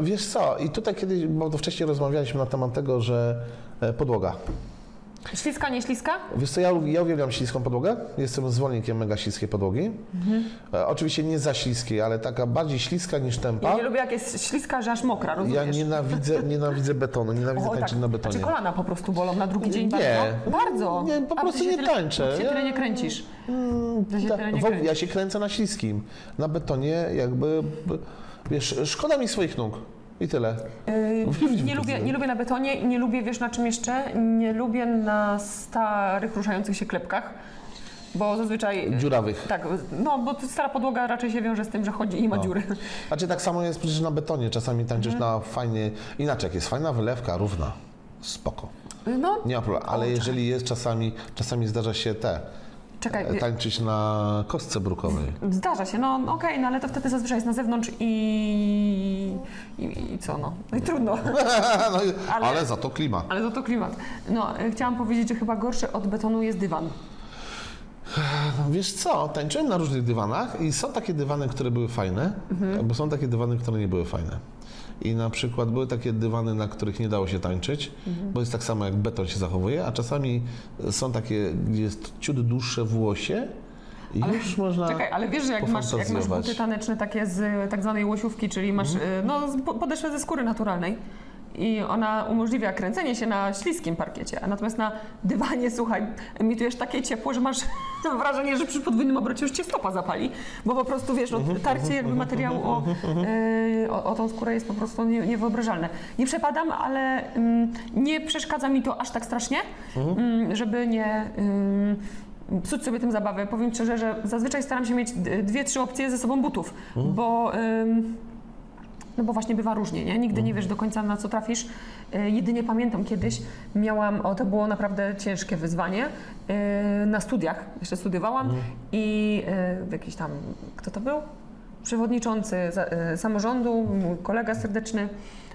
wiesz co, i tutaj kiedyś, bo to wcześniej rozmawialiśmy na temat tego, że e, podłoga. Śliska, nie śliska? Wiesz co, ja, ja uwielbiam śliską podłogę, jestem zwolennikiem mega śliskiej podłogi. Mhm. E, Oczywiście nie za śliskiej, ale taka bardziej śliska niż Ja tępa. nie lubię, jak jest śliska, że aż mokra, No. Ja rozumiesz? nienawidzę, nienawidzę betonu, nienawidzę O, tak. tańczyć na betonie. Czy kolana po prostu bolą na drugi dzień Nie. bardzo? Bardzo. Nie, po A prostu ty się nie tyle- tańczę. Ty się Ja- tyle nie kręcisz. Ty się Tak, tyle nie w ogóle kręcisz. ja się kręcę na śliskim. Na betonie jakby, b- wiesz, szkoda mi swoich nóg. I tyle. Yy, nie, lubię, nie lubię na betonie i nie lubię, wiesz na czym jeszcze? Nie lubię na starych, ruszających się klepkach, bo zazwyczaj... Dziurawych. Tak, no bo to stara podłoga raczej się wiąże z tym, że chodzi i ma dziury. Znaczy tak samo jest przecież na betonie. Czasami tańczysz Mhm. na fajnie, inaczej jak jest fajna wylewka, równa, spoko. No, Nie ma problemu, ale jeżeli jest czasami, czasami zdarza się te, czekaj, e, tańczyć na kostce brukowej. Zdarza się, no okej, no ale to wtedy zazwyczaj jest na zewnątrz i... i, i co no? No i trudno, no, i- Ale- ale za to klima. ale to to klimat. No, y, chciałam powiedzieć, że chyba gorszy od betonu jest dywan. Wiesz co, tańczyłem na różnych dywanach i są takie dywany, które były fajne, Mhm. bo są takie dywany, które nie były fajne. I na przykład były takie dywany, na których nie dało się tańczyć, Mhm. bo jest tak samo jak beton się zachowuje, a czasami są takie, gdzie jest ciut dłuższe włosie i już można... Czekaj, ale wiesz, że jak masz, jak masz pofantazjować. buty taneczne takie z y, tak zwanej łosiówki, czyli masz y, no, z po- podeszwę ze skóry naturalnej i ona umożliwia kręcenie się na śliskim parkiecie, a natomiast na dywanie, słuchaj, emitujesz takie ciepło, że masz wrażenie, że przy podwójnym obrocie już cię stopa zapali, bo po prostu, wiesz, no, tarcie jakby materiału o, y, o, o tą skórę jest po prostu nie, niewyobrażalne. Nie przepadam, ale mm, nie przeszkadza mi to aż tak strasznie, mm, żeby nie... ym, psuć sobie tym zabawę. Powiem szczerze, że zazwyczaj staram się mieć d- dwie, trzy opcje ze sobą butów, bo. Ym, no bo właśnie bywa różnie, nie? Nigdy nie wiesz do końca na co trafisz. Y, Jedynie pamiętam kiedyś miałam, o to było naprawdę ciężkie wyzwanie, y, na studiach, jeszcze studiowałam i y, jakiś tam, kto to był? Przewodniczący za- y, samorządu, mój kolega serdeczny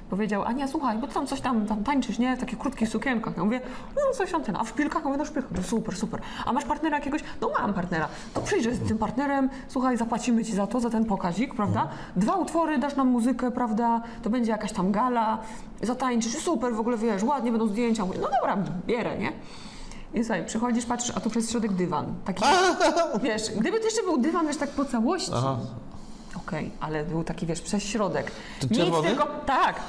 powiedział, Ania słuchaj, bo ty tam coś tam, tam tańczysz, nie? W takich krótkich sukienkach. Ja mówię, no coś tam ten, a w szpilkach? Ja mówię, no w szpilkach. No super, super. A masz partnera jakiegoś? No mam partnera. To przyjdziesz z tym partnerem, słuchaj, zapłacimy ci za to, za ten pokazik, prawda? Dwa utwory, dasz nam muzykę, prawda? To będzie jakaś tam gala, zatańczysz, super, w ogóle wiesz, ładnie będą zdjęcia. Mówię, no dobra, bierę, nie? I słuchaj, przychodzisz, patrzysz, a tu przez środek dywan. Taki, wiesz, gdyby to jeszcze był dywan, wiesz, tak po całości. Aha. Okej, ale był taki, wiesz, przez środek. To czerwony? Nic tylko, tak,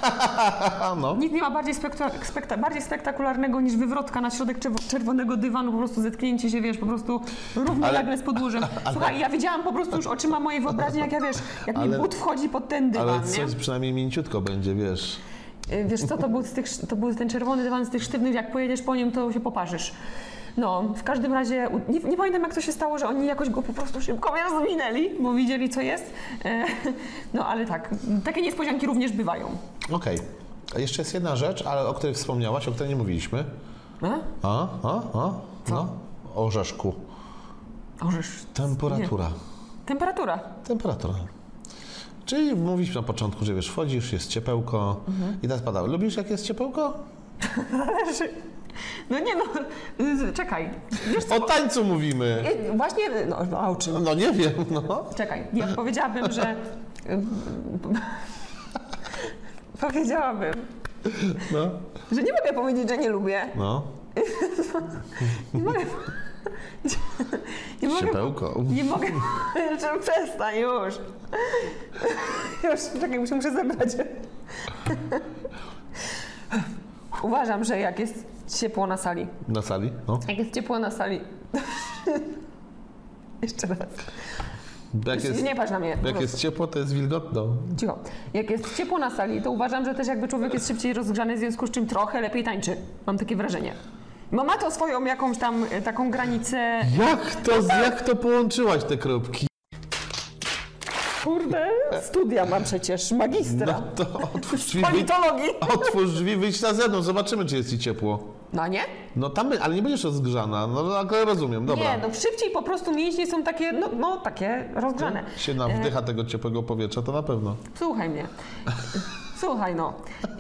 A no, Nikt nie ma bardziej, spektra, spekta, bardziej spektakularnego niż wywrotka na środek czerwo, czerwonego dywanu, po prostu zetknięcie się, wiesz, po prostu równolegle z podłożem. Słuchaj, ja widziałam po prostu już oczyma mojej wyobraźni, jak ja, wiesz, jak mi Ale- but wchodzi pod ten dywan, ale nie? coś przynajmniej mięciutko będzie, wiesz. Y, Wiesz co, to był, z tych, to był ten czerwony dywan z tych sztywnych, jak pojedziesz po nim, to się poparzysz. No, w każdym razie, u- nie, nie pamiętam jak to się stało, że oni jakoś go po prostu szybko rozwinęli, bo widzieli co jest. E, No ale tak, takie niespodzianki również bywają. Okej. A Jeszcze jest jedna rzecz, ale o której wspomniałaś, o której nie mówiliśmy. E? A, a, a, no, o orzeszku. Orzesz. Temperatura. Temperatura. Temperatura. Czyli mówiliśmy na początku, że wiesz, wchodzisz, jest ciepełko Mhm. i teraz pada. Lubisz, jak jest ciepełko? Zależy. No nie no, y, czekaj. Wiesz co? O tańcu mówimy. y, Właśnie, no, no a o czym? No nie wiem, no. Czekaj, ja powiedziałabym, że... y, Powiedziałabym, No. że nie mogę powiedzieć, że nie lubię. no. Nie mogę... No Nie mogę... Ciepełko. Nie mogę... Że przestań już. Już, czekaj, muszę, muszę zebrać. Uważam, że jak jest ciepło na sali, Na sali? No. jak jest ciepło na sali... Jeszcze raz. Jak jest, nie patrz na mnie. po jak prostu. jest ciepło, to jest wilgotno. Cicho. Jak jest ciepło na sali, to uważam, że też jakby człowiek jest szybciej rozgrzany, w związku z czym trochę lepiej tańczy. Mam takie wrażenie. Ma, ma to swoją jakąś tam e, taką granicę. Jak to, jak to połączyłaś te kropki? Kurde, studia ma przecież, magistra. No to otwórz drzwi, wyjdź, Politologii. otwórz drzwi, wyjdź na zewnątrz, zobaczymy, czy jest ci ciepło. No nie? No tam, by- ale nie będziesz rozgrzana, no ale rozumiem, dobra. Nie, no szybciej po prostu mięśnie są takie, no, no takie rozgrzane. Się nam E. wdycha tego ciepłego powietrza, to na pewno. Słuchaj mnie. Słuchaj no,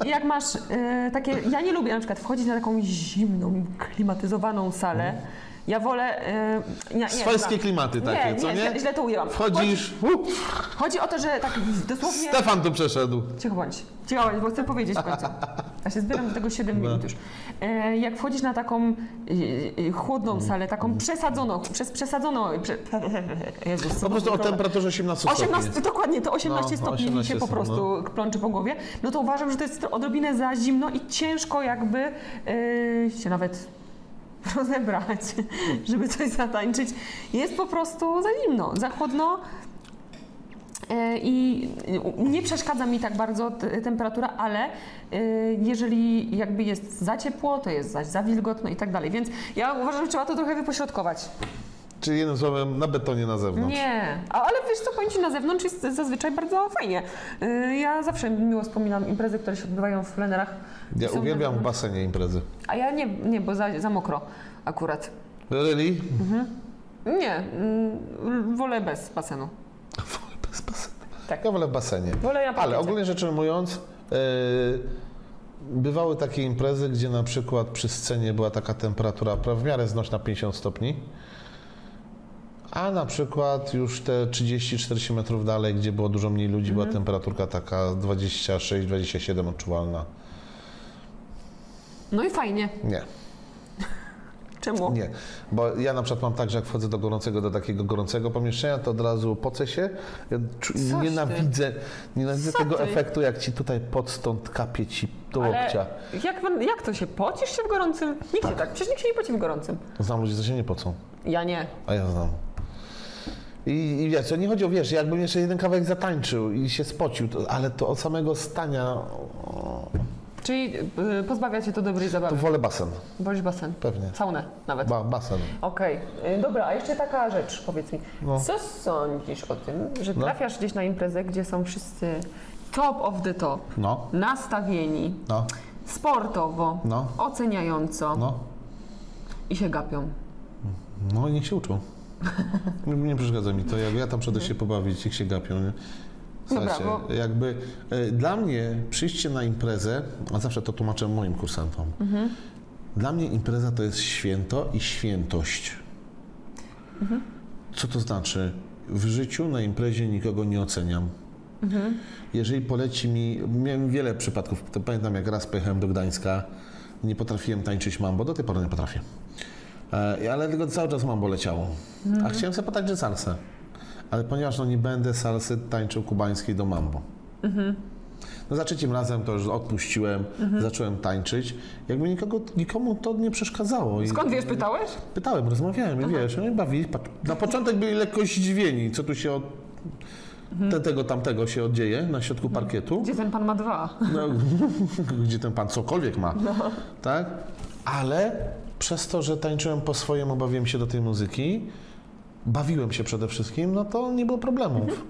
jak masz y, e, takie, ja nie lubię na przykład wchodzić na taką zimną, klimatyzowaną salę, Ja wolę... y, nie, nie, Swojskie chyba- klimaty takie, nie, co nie? Nie, źle, źle to ujęłam. Wchodzisz, u, Chodzi, chodzi o to, że tak dosłownie... Stefan tu przeszedł. Cicho bądź. Cicho bądź, bo chcę powiedzieć w końcu. Ja się zbieram do tego 7 No. minut już. E, jak wchodzisz na taką e, e, chłodną salę, taką przesadzoną, przez przesadzoną... Prze, Jezus, Po prostu o temperaturze 18 stopni. 18, dokładnie, to 18 No, stopni 18 mi się po stopni, prostu plączy po głowie, no to uważam, że to jest odrobinę za zimno i ciężko jakby yy, się nawet rozebrać, żeby coś zatańczyć. Jest po prostu za zimno, za chłodno. E, I u- nie przeszkadza mi tak bardzo t- temperatura, ale e, jeżeli jakby jest za ciepło, to jest zaś za wilgotno i tak dalej. Więc ja uważam, że trzeba to trochę wypośrodkować. Czyli jednym słowem, na betonie na zewnątrz. Nie, A, ale wiesz co, pojęcie na zewnątrz jest zazwyczaj bardzo fajnie. Y, Ja zawsze miło wspominam imprezy, które się odbywają w plenerach. Ja Są na uwielbiam w zewnątrz. basenie imprezy. A ja nie, nie bo za, za mokro akurat. Really? Nie, mm, wolę bez basenu. Wolę bez basenu. Tak. Ja wolę w basenie. Wolę na Ale parkiecie. ogólnie rzecz ujmując, yy, bywały takie imprezy, gdzie na przykład przy scenie była taka temperatura pra- w miarę znośna 50 stopni, a na przykład już te 30-40 metrów dalej, gdzie było dużo mniej ludzi, była temperaturka taka 26-27 odczuwalna. No i fajnie. Nie. Czemu? Nie, bo ja na przykład mam tak, że jak wchodzę do gorącego, do takiego gorącego pomieszczenia, to od razu pocę się. Ja czu- Coś ty. nienawidzę nienawidzę Co tego ty? efektu, jak ci tutaj pod stąd kapie ci do Ale łokcia. jak, pan- jak to się pocisz się w gorącym? Nikt się tak, przecież nikt się nie poci w gorącym. Znam ludzi, co się nie pocą, Ja nie. a ja znam. I, I wiesz, to nie chodzi o, wiesz, jakbym jeszcze jeden kawałek zatańczył i się spocił, to, ale to od samego stania, o, Czyli y, pozbawia cię to dobrej to zabawy. wolę basen, Wolisz basen. pewnie. Saunę nawet. Ba, basen. Okej, Y, dobra, a jeszcze taka rzecz, powiedz mi. No. Co sądzisz o tym, że No. trafiasz gdzieś na imprezę, gdzie są wszyscy top of the top, No, nastawieni, no, sportowo, No. oceniająco no. i się gapią? No niech się uczą. Nie- Nie przeszkadza mi to. Jak ja tam przyjadę się pobawić, niech się gapią. Nie? Dobra, Słuchajcie, jakby e, dla mnie przyjście na imprezę, a zawsze to tłumaczę moim kursantom. Dla mnie impreza to jest święto i świętość. Co to znaczy? W życiu na imprezie nikogo nie oceniam. Jeżeli poleci mi, miałem wiele przypadków, to pamiętam jak raz pojechałem do Gdańska, nie potrafiłem tańczyć mambo, do tej pory nie potrafię. E, ale tylko cały czas mambo leciało. A chciałem sobie potańczyć salsę. Ale ponieważ no nie będę salsy tańczył kubańskiej do mambo. No za trzecim razem to już odpuściłem, zacząłem tańczyć. Jakby nikogo, nikomu to nie przeszkadzało. I- Skąd wiesz, pytałeś? Pytałem, rozmawiałem, i wiesz, oni bawili. pat- Na początek byli lekko zdziwieni, co tu się od te, tego tamtego się oddzieje na środku parkietu, Gdzie ten pan ma dwa? no, gdzie ten pan cokolwiek ma, tak? Ale przez to, że tańczyłem po swojemu, bawiłem się do tej muzyki, bawiłem się przede wszystkim, no to nie było problemów.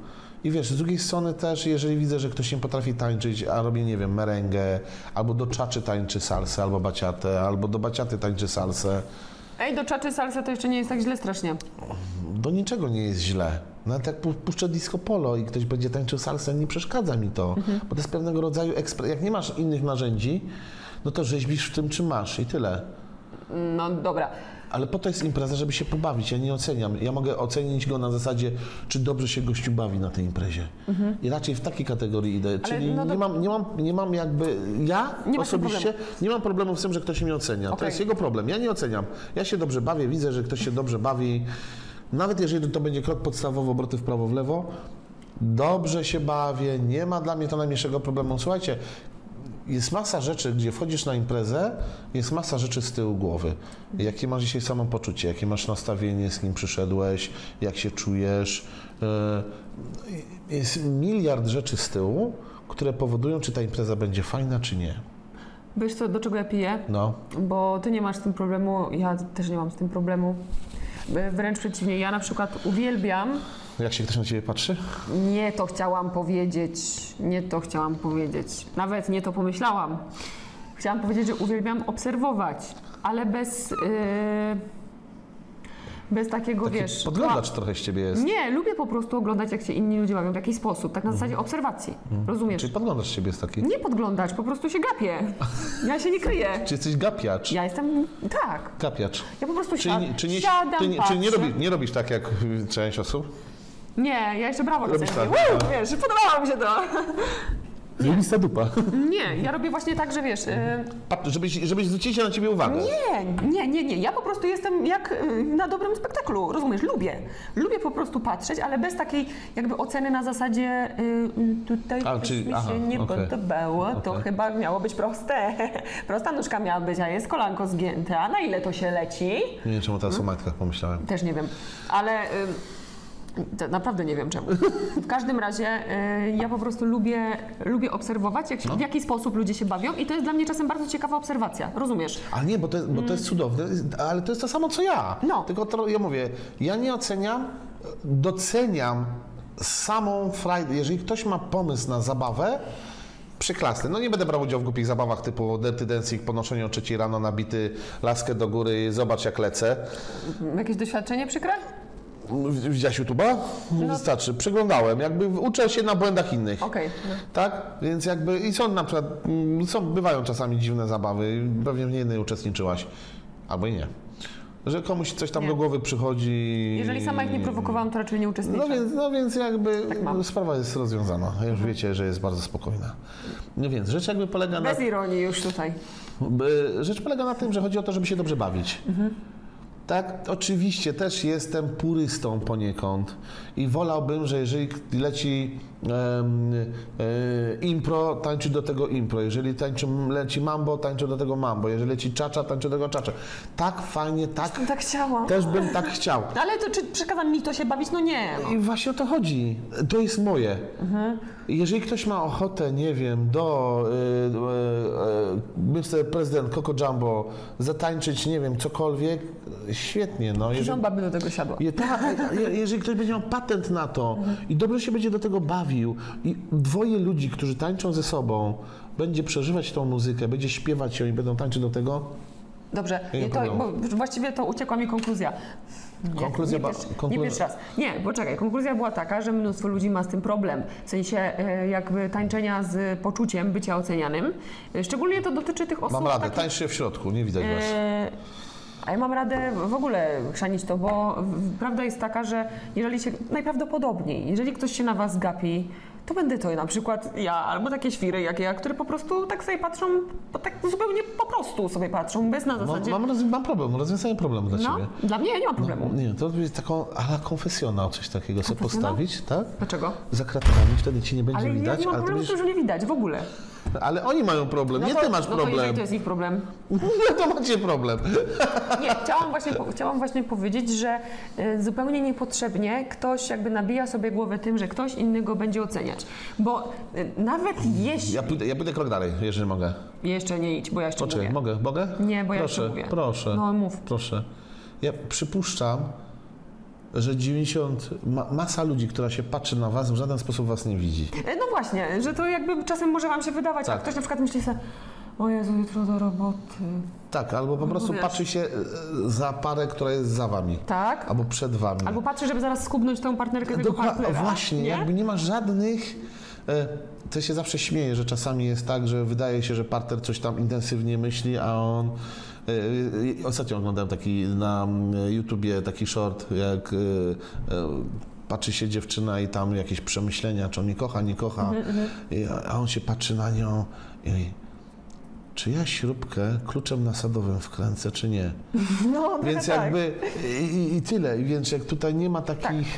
I wiesz, z drugiej strony też, jeżeli widzę, że ktoś nie potrafi tańczyć, a robi, nie wiem, merengę, albo do czaczy tańczy salsę, albo baciatę, albo do baciaty tańczy salsę, Ej, do czaczy salsa to jeszcze nie jest tak źle strasznie. do niczego nie jest źle. Nawet jak pu- puszczę disco polo i ktoś będzie tańczył salsę, nie przeszkadza mi to, bo to jest pewnego rodzaju ekspres. Jak nie masz innych narzędzi, no to rzeźbisz w tym, czym masz i tyle. No dobra. Ale po to jest impreza, żeby się pobawić. Ja nie oceniam. Ja mogę ocenić go na zasadzie, czy dobrze się gościu bawi na tej imprezie. I raczej w takiej kategorii idę. Czyli no to- nie, mam, nie, mam, nie mam jakby. Ja Nie masz osobiście nie mam problemu z tym, że ktoś mnie ocenia. To Okej. jest jego problem. Ja nie oceniam. Ja się dobrze bawię, widzę, że ktoś się dobrze bawi. Nawet jeżeli to będzie krok podstawowy, obroty w prawo, w lewo, dobrze się bawię, nie ma dla mnie to najmniejszego problemu. Słuchajcie, jest masa rzeczy, gdzie wchodzisz na imprezę, jest masa rzeczy z tyłu głowy. Jakie masz dzisiaj samopoczucie, jakie masz nastawienie, z kim przyszedłeś, jak się czujesz. Y, Jest miliard rzeczy z tyłu, które powodują, czy ta impreza będzie fajna, czy nie. Wiesz co, do czego ja piję? No, Bo ty nie masz z tym problemu, ja też nie mam z tym problemu. E, Wręcz przeciwnie, ja na przykład uwielbiam jak się ktoś na ciebie patrzy? Nie to chciałam powiedzieć, nie to chciałam powiedzieć. Nawet nie to pomyślałam. Chciałam powiedzieć, że uwielbiam obserwować, ale bez. Yy, bez takiego, Taki wiesz... podglądacz trochę z ciebie jest. Nie, lubię po prostu oglądać, jak się inni ludzie bawią w jakiś sposób, tak na Mhm. zasadzie obserwacji, rozumiesz? Czyli podglądacz z ciebie jest taki. Nie podglądać, po prostu się gapię. Ja się nie kryję. Czy jesteś gapiacz? Ja jestem... tak. Gapiacz. Ja po prostu Czyli, siad, nie- czy, nie, siadam, ty, nie- czy nie, patrzę. robi, nie robisz tak jak y, część osób? Nie, ja jeszcze brawo Robisz czasem tak, robię. Uuu, tak. Wiesz, podobało mi się to. Lista dupa. Nie, ja robię właśnie tak, że wiesz... y, Pat- Żebyś, żebyś zwrócili na ciebie uwagę. Nie, nie, nie, nie. Ja po prostu jestem jak y, na dobrym spektaklu, rozumiesz? Lubię. Lubię po prostu patrzeć, ale bez takiej jakby oceny na zasadzie y, y, tutaj A, coś czyli- mi się aha, nie okej. podobało, to Okej. chyba miało być proste. Prosta nóżka miała być, a jest kolanko zgięte. A na ile to się leci? Nie wiem, czemu teraz o matkach pomyślałem. Też nie wiem, ale ym, to naprawdę nie wiem czemu. W każdym razie y, ja po prostu lubię, lubię obserwować, No. jak się, w jaki sposób ludzie się bawią i to jest dla mnie czasem bardzo ciekawa obserwacja, rozumiesz? Ale nie, bo to, bo to jest cudowne, ale to jest to samo co ja. No. Tylko to, ja mówię, ja nie oceniam, doceniam samą frajdę. Jeżeli ktoś ma pomysł na zabawę, przyklasny. No nie będę brał udziału w głupich zabawach typu dirty dancing, ponoszenie o trzeciej rano, nabity, laskę do góry, zobacz jak lecę. Jakieś doświadczenie przykre? W- Widziałaś YouTube'a? Wystarczy. Przeglądałem. Jakby uczę się na błędach innych. Okej. no. Tak? Więc jakby i są na przykład, mm, są, bywają czasami dziwne zabawy, pewnie w niej uczestniczyłaś, albo i nie. Że komuś coś tam Nie. do głowy przychodzi. Jeżeli sama ich nie prowokowałam, to raczej nie uczestniczę. No więc, no więc jakby mam. Mhm. sprawa jest rozwiązana. Już wiecie, że jest bardzo spokojna. No więc rzecz jakby polega na, Bez ironii już tutaj. by- Rzecz polega na tym, że chodzi o to, żeby się dobrze bawić. Tak, oczywiście też jestem purystą poniekąd i wolałbym, że jeżeli k- leci em, e, impro, tańczy do tego impro. Jeżeli tańczy, leci mambo, tańczy do tego mambo. Jeżeli leci czacza, tańczy do tego czacza. Tak fajnie, tak Tak chciałam. też bym tak chciał. Ale to czy przekazał mi to się bawić? No nie. I właśnie o to chodzi. To jest moje. Jeżeli ktoś ma ochotę, nie wiem, do y, y, y, Mr. Prezydent Coco Jumbo zatańczyć, nie wiem, cokolwiek, świetnie. No, jeżeli, Żąba by do tego siadła. je, ta, je, jeżeli ktoś będzie miał patent na to i dobrze się będzie do tego bawił i dwoje ludzi, którzy tańczą ze sobą, będzie przeżywać tą muzykę, będzie śpiewać ją i będą tańczyć do tego, Dobrze, Nie I to, bo problem. właściwie to uciekła mi konkluzja. Nie, Konkluzja nie, ba- pierwszy, konkluzja- nie pierwszy raz. Nie, bo czekaj, konkluzja była taka, że mnóstwo ludzi ma z tym problem. W sensie e, jakby tańczenia z poczuciem bycia ocenianym. E, Szczególnie to dotyczy tych osób mam radę, tak takich- tańcz się w środku, nie widać was. E, A ja mam radę w ogóle chrzanić to, bo w- prawda jest taka, że jeżeli się, najprawdopodobniej, jeżeli ktoś się na was gapi, to będę to na przykład ja, albo takie świry jak ja, które po prostu tak sobie patrzą, bo tak zupełnie po prostu sobie patrzą, bez na Mam, zasadzie... No, mam, rozwi- mam problem, rozwiązanie problemu dla no, ciebie. dla mnie ja nie ma problemu. Nie, to jest taką ala konfesjonał, coś takiego sobie Konfesjonał? postawić, tak? Dlaczego? Za kratami, wtedy ci nie będzie Ale ja widać, nie mam ale, ty problemu z tym, będziesz, że nie widać w ogóle. ale oni mają problem, nie to, ty masz no To, jeżeli problem. to jest ich problem. No to macie problem. Nie, chciałam właśnie, po- chciałam właśnie powiedzieć, że y, zupełnie niepotrzebnie ktoś jakby nabija sobie głowę tym, że ktoś inny go będzie oceniać. Bo y, nawet jeśli... Ja pójdę, ja pójdę krok dalej, jeżeli mogę. Jeszcze nie idź, bo ja jeszcze Poczekaj, mówię. mogę? Mogę? Nie, bo ja proszę, jeszcze mówię. Proszę, No mów. proszę. Ja przypuszczam, że 90, ma, masa ludzi, która się patrzy na was, w żaden sposób was nie widzi. Y, No właśnie, że to jakby czasem może wam się wydawać, Tak. a ktoś na przykład myśli sobie, o Jezu, jutro do roboty. Tak, albo po prostu wiesz. patrzy się e, za parę, która jest za wami. Tak? Albo przed wami. Albo patrzy, żeby zaraz skubnąć tą partnerkę tego Dokła- partnera. Właśnie, nie? jakby nie ma żadnych. e, To się zawsze śmieje, że czasami jest tak, że wydaje się, że partner coś tam intensywnie myśli, a on. e, e, Ostatnio oglądałem taki na mm, YouTubie taki short, jak e, e, patrzy się dziewczyna i tam jakieś przemyślenia, czy on mnie kocha, nie kocha, Mhm, I- a on się patrzy na nią i czy ja śrubkę kluczem nasadowym wkręcę, czy nie? No, Więc trochę tak. jakby i, i- i tyle. I Więc jak tutaj nie ma takich.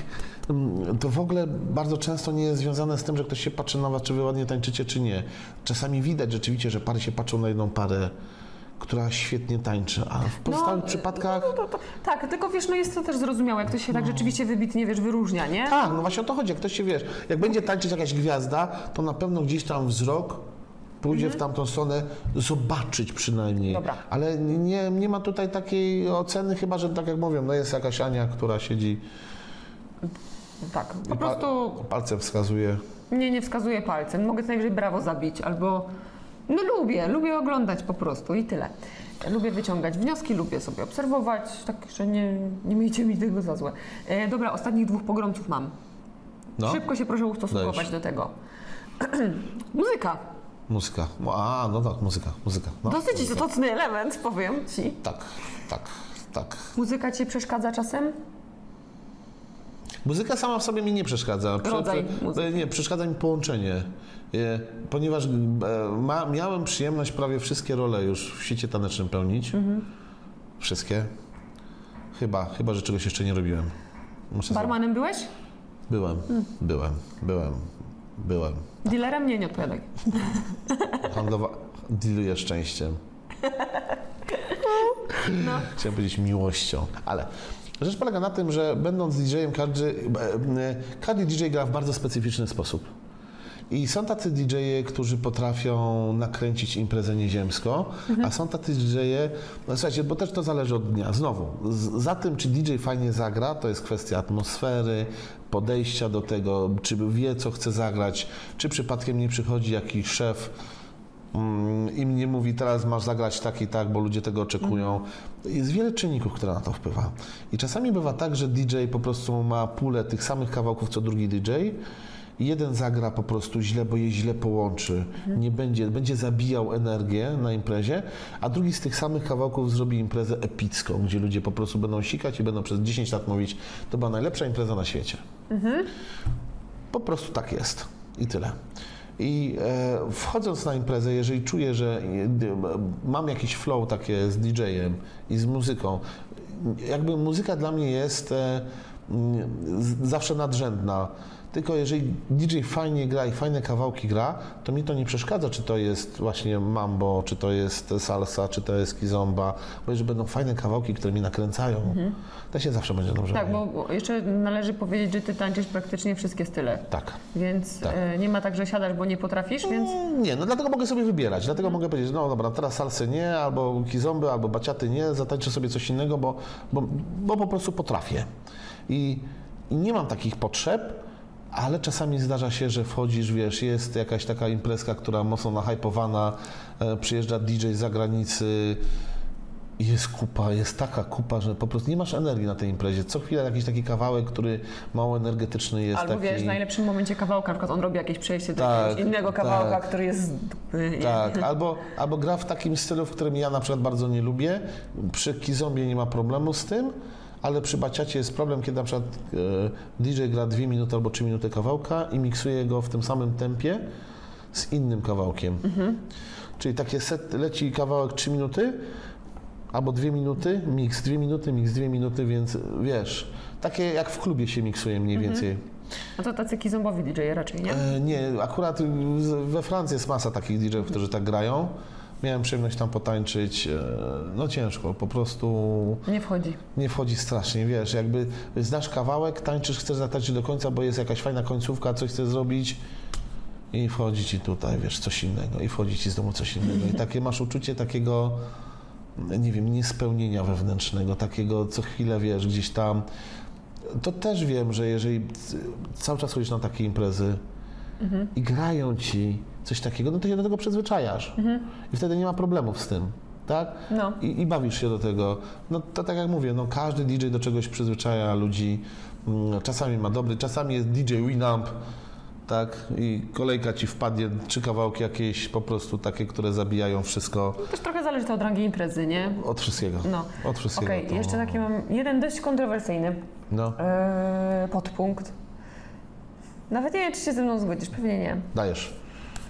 Tak. mm, To w ogóle bardzo często nie jest związane z tym, że ktoś się patrzy na was, czy wy ładnie tańczycie, czy nie. Czasami widać rzeczywiście, że pary się patrzą na jedną parę, która świetnie tańczy, a w pozostałych przypadkach. No. No, no, to, tak, tylko wiesz, no jest to też zrozumiałe, jak ktoś się tak rzeczywiście wybitnie, wiesz, wyróżnia, nie? Tak, no właśnie o to chodzi. Jak ktoś się wiesz, jak będzie tańczyć jakaś gwiazda, to na pewno gdzieś tam wzrok pójdzie w tamtą stronę, zobaczyć przynajmniej. Mhm. Dobra. Ale nie, nie ma tutaj takiej oceny, chyba że tak jak mówią, no jest jakaś Ania, która siedzi. Tak, po i pa- prostu Palcem wskazuje. nie, nie wskazuję palcem. Mogę co najwyżej brawo zabić albo... No lubię, lubię oglądać po prostu i tyle. Lubię wyciągać wnioski, lubię sobie obserwować, także nie, nie miejcie mi tego za złe. E, dobra, ostatnich dwóch pogromców mam. No, Szybko się proszę ustosunkować Dajesz. do tego. Muzyka. muzyka. Mu- A, no tak, muzyka, muzyka. No. Dosyć istotny element, powiem ci. Tak, tak, tak. Muzyka ci przeszkadza czasem? Muzyka sama w sobie mi nie przeszkadza. e, Rodzaj muzyki. nie, przeszkadza mi połączenie. E, Ponieważ e, ma, miałem przyjemność prawie wszystkie role już w sieci tanecznym pełnić. Mhm. Wszystkie. Chyba, chyba, że czegoś jeszcze nie robiłem. Muszę Barmanem byłeś? sobie- Byłem, Hmm. byłem, byłem, byłem. Dealerem? Nie, nie odpowiadaj. Handlowa... Dealuję szczęściem. Chciałem powiedzieć miłością, ale rzecz polega na tym, że będąc DJ-em, każdy, e, każdy DJ gra w bardzo specyficzny sposób. I są tacy DJ-e, którzy potrafią nakręcić imprezę nieziemsko, a są tacy DJ-e, no słuchajcie, bo też to zależy od dnia. Znowu, z, za tym, czy DJ fajnie zagra, to jest kwestia atmosfery, podejścia do tego, czy wie, co chce zagrać, czy przypadkiem nie przychodzi jakiś szef, Mm, im nie mówi teraz masz zagrać tak i tak, bo ludzie tego oczekują. Jest wiele czynników, które na to wpływa. I czasami bywa tak, że DJ po prostu ma pulę tych samych kawałków co drugi DJ. i Jeden zagra po prostu źle, bo je źle połączy. Nie będzie, będzie zabijał energię na imprezie, a drugi z tych samych kawałków zrobi imprezę epicką, gdzie ludzie po prostu będą sikać i będą przez 10 lat mówić, to była najlepsza impreza na świecie. Po prostu tak jest. I tyle. I e, wchodząc na imprezę, jeżeli czuję, że e, d- mam jakiś flow takie z DJ-em i z muzyką, jakby muzyka dla mnie jest e, mm, z- zawsze nadrzędna. Tylko jeżeli DJ fajnie gra i fajne kawałki gra, to mi to nie przeszkadza, czy to jest właśnie mambo, czy to jest salsa, czy to jest kizomba, bo jeżeli będą fajne kawałki, które mi nakręcają, to się zawsze będzie dobrze Mhm. Tak, bawił. bo bo jeszcze należy powiedzieć, że ty tańczysz praktycznie wszystkie style. Tak. Więc Tak. e, nie ma tak, że siadasz, bo nie potrafisz, więc Mm, Nie, no dlatego mogę sobie wybierać. Dlatego mogę powiedzieć, no dobra, teraz salsy nie, albo kizomby, albo baciaty nie, zatańczę sobie coś innego, bo, bo, bo po prostu potrafię. I, I nie mam takich potrzeb, ale czasami zdarza się, że wchodzisz, wiesz, jest jakaś taka imprezka, która mocno nahypowana, e, przyjeżdża DJ z zagranicy, jest kupa, jest taka kupa, że po prostu nie masz energii na tej imprezie. Co chwila jakiś taki kawałek, który mało energetyczny jest. albo taki... wiesz, w najlepszym momencie kawałka, na przykład on robi jakieś przejście do Tak, jakiegoś innego kawałka, tak. który jest... z dupy. Tak, albo, albo gra w takim stylu, w którym ja na przykład bardzo nie lubię. Przy Kizombie nie ma problemu z tym, ale przy Baciacie jest problem, kiedy na przykład e, DJ gra 2 minuty albo 3 minuty kawałka i miksuje go w tym samym tempie z innym kawałkiem. Czyli takie set, leci kawałek 3 minuty, albo 2 minuty, miks 2 minuty, miks 2 minuty, więc e, wiesz, takie jak w klubie się miksuje mniej więcej. No to tacy kizombowi DJ raczej, nie? E, Nie, akurat w- we Francji jest masa takich DJ-ów, którzy tak grają. Miałem przyjemność tam potańczyć. e, No ciężko, po prostu Nie wchodzi. nie wchodzi strasznie, wiesz, jakby znasz kawałek, tańczysz, chcesz zatańczyć do końca, bo jest jakaś fajna końcówka, coś chcesz zrobić i wchodzi ci tutaj, wiesz, coś innego i wchodzi ci z domu coś innego i takie masz uczucie takiego, nie wiem, niespełnienia wewnętrznego, takiego co chwilę, wiesz, gdzieś tam. To też wiem, że jeżeli c- cały czas chodzisz na takie imprezy i grają ci coś takiego, no to się do tego przyzwyczajasz i wtedy nie ma problemów z tym, tak? No. I, I bawisz się do tego. No to tak jak mówię, no każdy DJ do czegoś przyzwyczaja ludzi. Mm, Czasami ma dobry, czasami jest DJ Winamp, tak? I kolejka ci wpadnie, trzy kawałki jakieś po prostu takie, które zabijają wszystko Też trochę zależy to od rangi imprezy, nie? od wszystkiego. No. Od wszystkiego. Okej, to- jeszcze taki mam jeden dość kontrowersyjny No, e, podpunkt. Nawet nie wiem, czy się ze mną zgodzisz, pewnie nie. dajesz.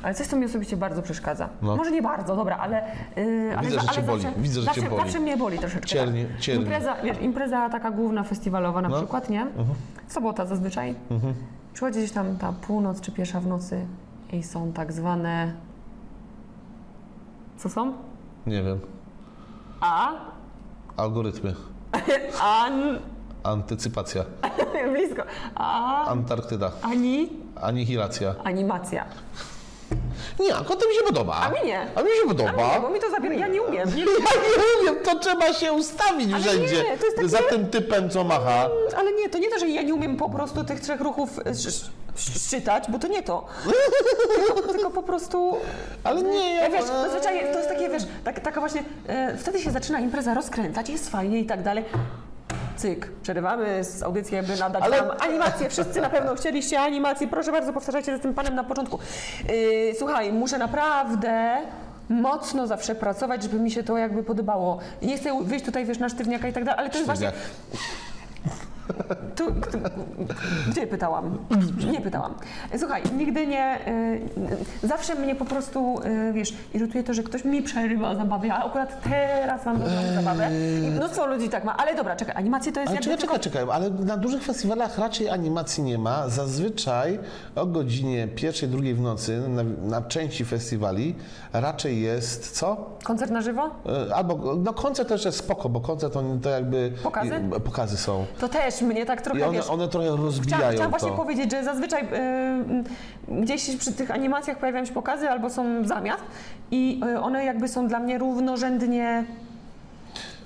Ale coś, co mi osobiście bardzo przeszkadza. No. Może nie bardzo, dobra, ale... Yy, ale Widzę, że ale cię boli, Zawsze, widzę, że cię zawsze, boli. Zawsze mnie boli troszeczkę. Cierni- tak. cierni. Impreza, wiesz, impreza taka główna, festiwalowa na No. przykład, nie? Sobota zazwyczaj. Przychodzi gdzieś tam ta północ czy pierwsza w nocy i są tak zwane... Co są? Nie wiem. A? Algorytmy. An... Antycypacja. Blisko. A... Antarktyda. Ani... Anihilacja. Animacja. Nie, akurat to mi się podoba. A mi nie. A mi się A podoba. mnie, bo mi to zabiera, ja nie umiem. Nie, Ja nie umiem, to trzeba się ustawić Ale wszędzie. nie, to jest takie- Za tym typem, co macha. ale nie, to nie to, że ja nie umiem po prostu tych trzech ruchów... e, sz- sz- szczytać, bo to nie to. tylko, tylko po prostu... Ale nie, ja... Ja wiesz, zazwyczaj to jest takie, wiesz, tak, taka właśnie, e, wtedy się zaczyna impreza rozkręcać, jest fajnie i tak dalej. Cyk, przerywamy z audycji, jakby nadać Ale- wam animację. Wszyscy na pewno chcieliście animację. Proszę bardzo, powtarzajcie z tym panem na początku. E, słuchaj, muszę naprawdę mocno zawsze pracować, żeby mi się to jakby podobało. Nie chcę wyjść tutaj, wiesz, na sztywniaka i tak dalej, ale to jest właśnie... Tu, tu, gdzie pytałam? Nie pytałam. Słuchaj, nigdy nie. y, zawsze mnie po prostu, y, wiesz, irytuje to, że ktoś mi przerywa zabawę, a akurat teraz mam dobrą zabawę. I mnóstwo ludzi tak ma, ale dobra, czekaj, animacje to jest Eee. Ale czekaj, jakby. czekaj, czekaj, ale na dużych festiwalach raczej animacji nie ma. Zazwyczaj o godzinie pierwszej, drugiej w nocy na, na części festiwali raczej jest co? Koncert na żywo? E, Albo no koncert też jest spoko, bo koncert on, to jakby... Pokazy? i- pokazy są. To też mnie tak trochę I one, wiesz. one trochę rozbijają Chciałam, chciałam właśnie to. powiedzieć, że zazwyczaj y, m, gdzieś przy tych animacjach pojawiają się pokazy albo są zamiast i y, one jakby są dla mnie równorzędnie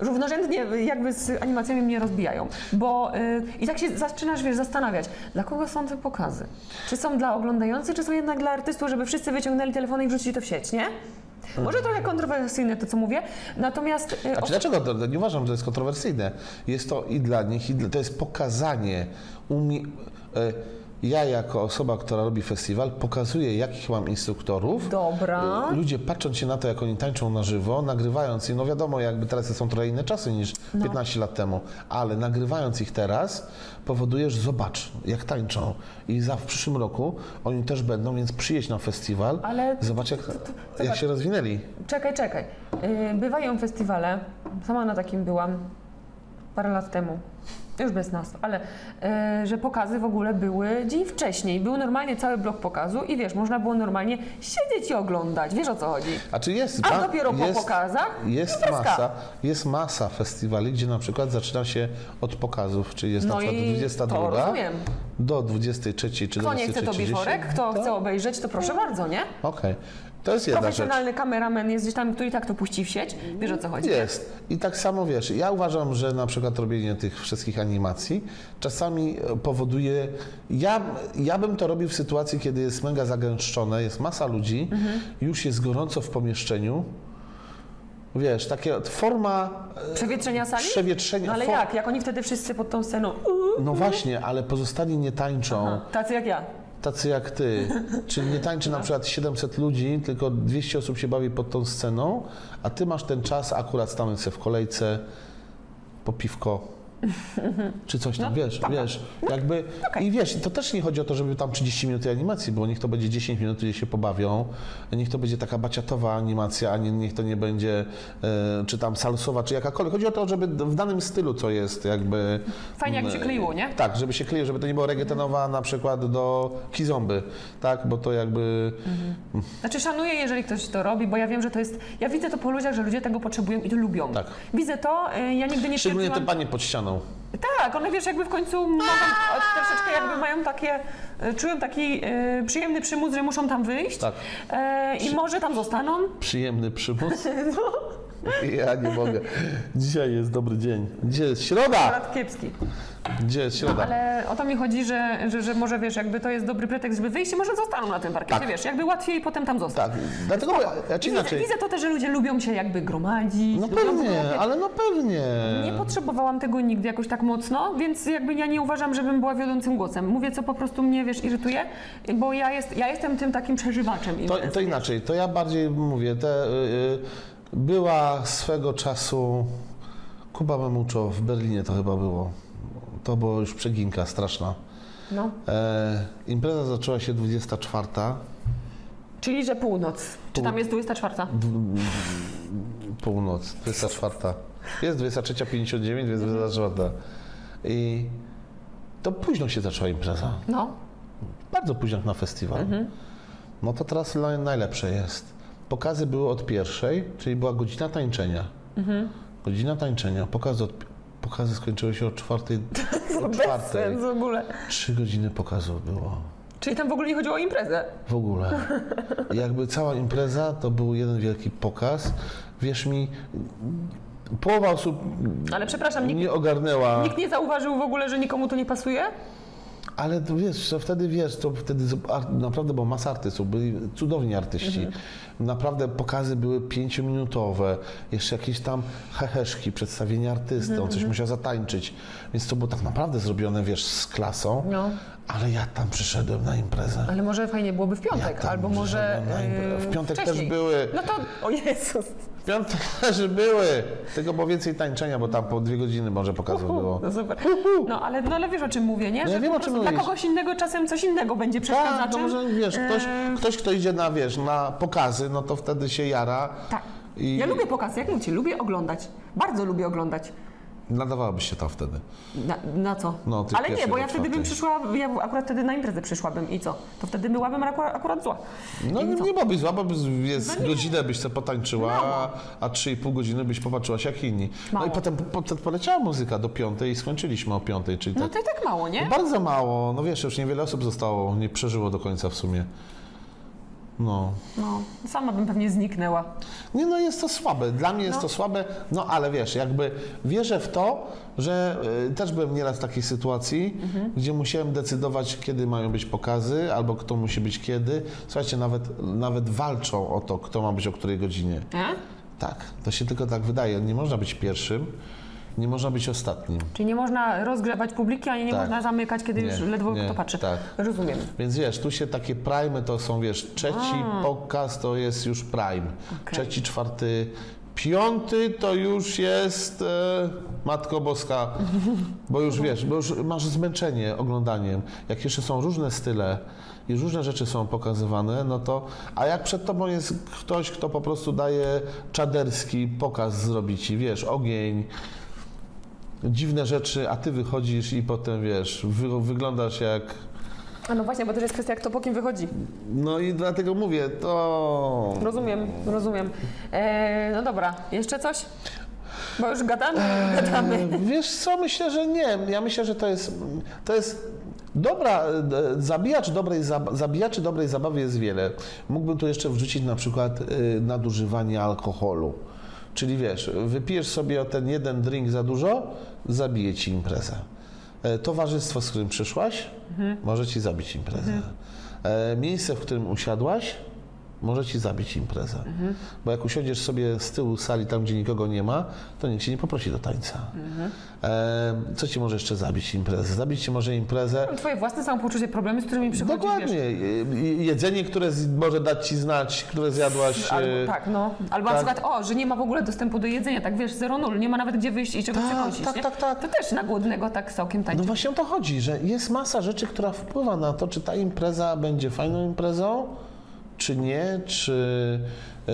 równorzędnie jakby z animacjami mnie rozbijają, bo y, i tak się zaczynasz, wiesz, zastanawiać, dla kogo są te pokazy? Czy są dla oglądających, czy są jednak dla artystów, żeby wszyscy wyciągnęli telefony i wrzucili to w sieć, nie? Może Mhm. trochę kontrowersyjne to, co mówię, natomiast... y, Znaczy, dlaczego to, to nie uważam, że to jest kontrowersyjne? Jest to i dla nich, i dla, to jest pokazanie. Umie, e, ja jako osoba, która robi festiwal, pokazuję, jakich mam instruktorów. Dobra. E, Ludzie patrząc się na to, jak oni tańczą na żywo, nagrywając ich, no wiadomo, jakby teraz są trochę inne czasy niż No. 15 lat temu, ale nagrywając ich teraz, powoduje, że zobacz, jak tańczą. I za w przyszłym roku oni też będą, więc przyjedź na festiwal, Ale- zobacz, jak, jak zobacz. się rozwinęli. Czekaj, czekaj. Yy, Bywają festiwale. Sama na takim byłam parę lat temu. Już bez nazw, ale yy, że pokazy w ogóle były dzień wcześniej. Był normalnie cały blok pokazu i wiesz, można było normalnie siedzieć i oglądać. Wiesz o co chodzi? A czy jest? A pa- dopiero po pokazach No, Jest imprezka. masa, jest masa festiwali, gdzie na przykład zaczyna się od pokazów, czyli jest No na przykład i 22 to rozumiem. do 23 czy do Kto nie chce to 23.30. biforek, kto To- chce obejrzeć, to proszę bardzo, nie? Okej. To jest jedna rzecz. Profesjonalny kameramen jest gdzieś tam, który i tak to puści w sieć. Wiesz o co chodzi? Jest. I tak samo wiesz, ja uważam, że na przykład robienie tych wszystkich animacji czasami e, powoduje. Ja, ja bym to robił w sytuacji, kiedy jest mega zagęszczone, jest masa ludzi, Mhm. już jest gorąco w pomieszczeniu. Wiesz, takie forma Przewietrzenia sali? Przewietrzenia- No ale fo- jak? Jak oni wtedy wszyscy pod tą sceną? Uuu, No właśnie, ale pozostali nie tańczą, tacy jak ja. tacy jak ty. Czyli nie tańczy No. na przykład 700 ludzi, tylko 200 osób się bawi pod tą sceną, a ty masz ten czas akurat stanąć sobie w kolejce, po piwko, czy coś No, tam, wiesz, tak. wiesz, jakby i wiesz, to też nie chodzi o to, żeby tam 30 minut tej animacji, bo niech to będzie 10 minut, gdzie się pobawią, niech to będzie taka baciatowa animacja, a nie, niech to nie będzie e, czy tam salsowa, czy jakakolwiek. Chodzi o to, żeby w danym stylu, co jest jakby... Fajnie, jakby się mm, kleiło, nie? Tak, żeby się kleiło, żeby to nie było reggaetonowa na przykład do kizomby, tak, bo to jakby... Znaczy szanuję, jeżeli ktoś to robi, bo ja wiem, że to jest... Ja widzę to po ludziach, że ludzie tego potrzebują i to lubią. Tak. Widzę to, y, ja nigdy nie Szczególnie te stwierdziłam- panie pod ścianą. Tak, one wiesz, jakby w końcu mogą, o, troszeczkę jakby mają takie... y, Czują taki y, przyjemny przymus, że muszą tam wyjść Tak. y, i może tam zostaną. Przyjemny przymus. Ja nie mogę. Dzisiaj jest dobry dzień. Dzisiaj jest środa! Brat kiepski. Dzisiaj jest środa. Ale o to mi chodzi, że, że, że może wiesz, jakby to jest dobry pretekst, żeby wyjść i może zostaną na tym parkiecie, Tak. wiesz, jakby łatwiej potem tam zostać. Tak, dlatego ja I ci Widzę, inaczej. widzę to też, że ludzie lubią się jakby gromadzić. No lubią pewnie, grupy. ale no pewnie. Nie potrzebowałam tego nigdy jakoś tak mocno, więc jakby ja nie uważam, żebym była wiodącym głosem. Mówię, co po prostu mnie, wiesz, irytuje, bo ja, jest, ja jestem tym takim przeżywaczem. To, imprez. to inaczej, to ja bardziej mówię, te, y, y, była swego czasu Kuba Memuczo w Berlinie to chyba było. To była już przeginka straszna. No. E, impreza zaczęła się 24. Czyli, że północ. Czy tam jest 24? Północ, 24. Jest 23.59, jest 24. I to późno się zaczęła impreza. No. Bardzo późno jak na festiwal. Mhm. No to teraz dla mnie najlepsze jest. Pokazy były od pierwszej, czyli była godzina tańczenia. Mhm. Godzina tańczenia, pokazy, od, pokazy skończyły się o czwartej. O Bez czwartej. sensu w ogóle. Trzy godziny pokazów było. Czyli tam w ogóle nie chodziło o imprezę. W ogóle. Jakby cała impreza to był jeden wielki pokaz. Wierz mi, połowa osób Ale przepraszam, nikt, nie ogarnęła. nikt nie zauważył w ogóle, że nikomu to nie pasuje? Ale to wiesz, to wtedy wiesz, to wtedy z- ar- naprawdę była masa artystów, byli cudowni artyści. Mhm. Naprawdę pokazy były pięciominutowe, jeszcze jakieś tam heheszki, przedstawienie artystą, Mhm, coś musiał zatańczyć. Więc to było tak naprawdę zrobione, wiesz, z klasą, No. ale ja tam przyszedłem na imprezę. Ale może fajnie byłoby w piątek, tam Tak, albo może. żadna impre- w yy, piątek też wcześniej. były. No to. O Jezus! W Piątek też były, tylko było więcej tańczenia, bo tam po dwie godziny może pokazów było. No super. No ale, no, ale wiesz o czym mówię, nie? No, Że ja wiem, po o czym prostu dla mówisz. kogoś innego czasem coś innego będzie przeszkadzaczem. Tak, to może wiesz, ktoś, Yy, ktoś, kto idzie na, wiesz, na pokazy, no to wtedy się jara. Tak. I- Ja lubię pokazy, jak mówicie, lubię oglądać. Bardzo lubię oglądać. Nadawałabyś się to wtedy. Na, na co? No, ty Ale nie, pierwszy bo do ja wtedy bym czwartej. przyszła, ja akurat wtedy na imprezę przyszłabym i co? To wtedy byłabym akurat, akurat zła. No I nie, co? nie byłabyś zła, bo byś- jest, No nie. godzinę byś sobie potańczyła, Mało. a 3,5 godziny byś popatrzyła się jak inni. Mało. No i potem, po- potem poleciała muzyka do piątej i skończyliśmy o piątej, czyli No tak. to i tak mało, nie? Bardzo mało, no wiesz, już niewiele osób zostało, nie przeżyło do końca w sumie. No. No, sama bym pewnie zniknęła. Nie no, jest to słabe. Dla mnie jest No. to słabe, no ale wiesz, jakby wierzę w to, że y, też byłem nieraz w takiej sytuacji, gdzie musiałem decydować, kiedy mają być pokazy, albo kto musi być kiedy. Słuchajcie, nawet, nawet walczą o to, kto ma być o której godzinie. E? Tak, to się tylko tak wydaje. Nie można być pierwszym, nie można być ostatnim. Czyli nie można rozgrzewać publiki, ani nie Tak. można zamykać, kiedy Nie, już ledwo nie, kto patrzy. tak. Rozumiem. Więc wiesz, tu się takie prime to są, wiesz, trzeci pokaz to jest już prime. Trzeci, czwarty, piąty to już jest e, Matko Boska. Bo już wiesz, bo już masz zmęczenie oglądaniem. Jak jeszcze są różne style i różne rzeczy są pokazywane, no to. A jak przed tobą jest ktoś, kto po prostu daje czaderski pokaz zrobić ci, wiesz, ogień. Dziwne rzeczy, a ty wychodzisz i potem wiesz, wy, wyglądasz jak A no właśnie, bo też jest kwestia, kto po kim wychodzi. no i dlatego mówię, to. Rozumiem, rozumiem. E, no dobra, jeszcze coś? Bo już gadamy, E, gadamy. Wiesz co, myślę, że nie. Ja myślę, że to jest. To jest dobra. e, Zabijacz dobrej, zab- zabijaczy dobrej zabawy jest wiele. Mógłbym tu jeszcze wrzucić na przykład y, nadużywanie alkoholu. Czyli wiesz, wypijesz sobie o ten jeden drink za dużo, zabije ci imprezę. E, Towarzystwo, z którym przyszłaś, może ci zabić imprezę. E, Miejsce, w którym usiadłaś, może ci zabić imprezę. Bo jak usiądziesz sobie z tyłu sali, tam gdzie nikogo nie ma, to nikt cię nie poprosi do tańca. E, co ci może jeszcze zabić imprezę? Zabić ci może No, imprezę. Twoje własne samopoczucie, problemy, z którymi przychodzisz. Dokładnie. Je- Jedzenie, które z, może dać ci znać, które zjadłaś. Wiesz, albo, e, tak, no. Albo na tak. przykład, o, że nie ma w ogóle dostępu do jedzenia, tak wiesz, zero nul, nie ma nawet gdzie wyjść i czego Tak, przychodzić. tak, nie? tak, tak. To też na głodnego tak całkiem No tańczy. właśnie o to chodzi, że jest masa rzeczy, która wpływa na to, czy ta impreza będzie fajną imprezą, czy nie, czy e,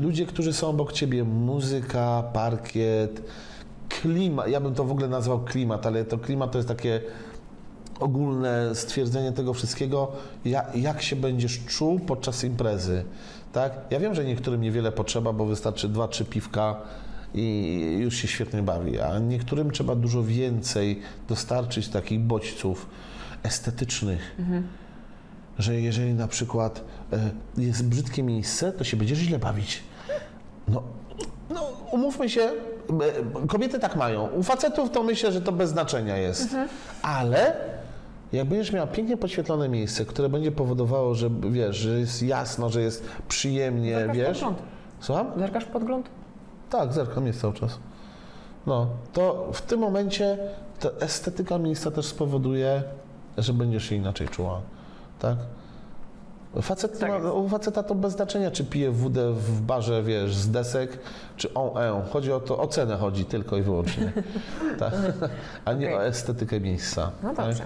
ludzie, którzy są obok ciebie, muzyka, parkiet, klimat. Ja bym to w ogóle nazwał klimat, ale to klimat to jest takie ogólne stwierdzenie tego wszystkiego, ja, jak się będziesz czuł podczas imprezy. Tak? Ja wiem, że niektórym niewiele potrzeba, bo wystarczy dwa, trzy piwka i już się świetnie bawi, a niektórym trzeba dużo więcej dostarczyć takich bodźców estetycznych. Że jeżeli na przykład e, jest brzydkie miejsce, to się będziesz źle bawić. No, no umówmy się, e, kobiety tak mają. U facetów to myślę, że to bez znaczenia jest. Ale jak będziesz miała pięknie podświetlone miejsce, które będzie powodowało, że wiesz, że jest jasno, że jest przyjemnie, Zerkasz wiesz. podgląd. Słucham? Zerkasz podgląd? Tak, zerkam jest cały czas. No, to w tym momencie ta estetyka miejsca też spowoduje, że będziesz się inaczej czuła, tak? Facet Tak ma, jest. u faceta to bez znaczenia, czy pije wódę w barze, wiesz, z desek, czy on e. Chodzi o to, o cenę chodzi tylko i wyłącznie, tak? A nie Okej. o estetykę miejsca. No tak? dobrze.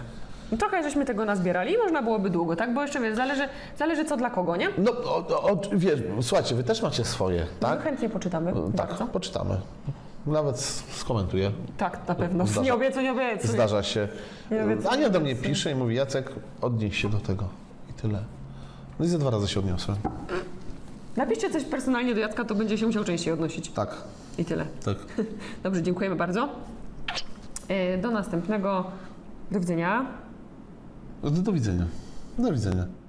No Trochę żeśmy tego nazbierali, można byłoby długo, tak? Bo jeszcze wiesz, zależy, zależy co dla kogo, nie? No, o, o, o, wiesz, słuchajcie, wy też macie swoje, Tak? tak? Chętnie poczytamy. Tak, Bardzo. poczytamy. Nawet s- skomentuję. Tak, na pewno. Zdarza- Nie obiecuję, nie obiecuję. Zdarza się. Ja wiem, co Ania do mnie pisze i mówi, Jacek, odnieś się do tego. I tyle. No i ze dwa razy się odniosłem. Napiszcie coś personalnie do Jacka, to będzie się musiał częściej odnosić. Tak, I tyle. tak. Dobrze, dziękujemy bardzo. E, Do następnego. Do widzenia. Do, do widzenia. Do widzenia.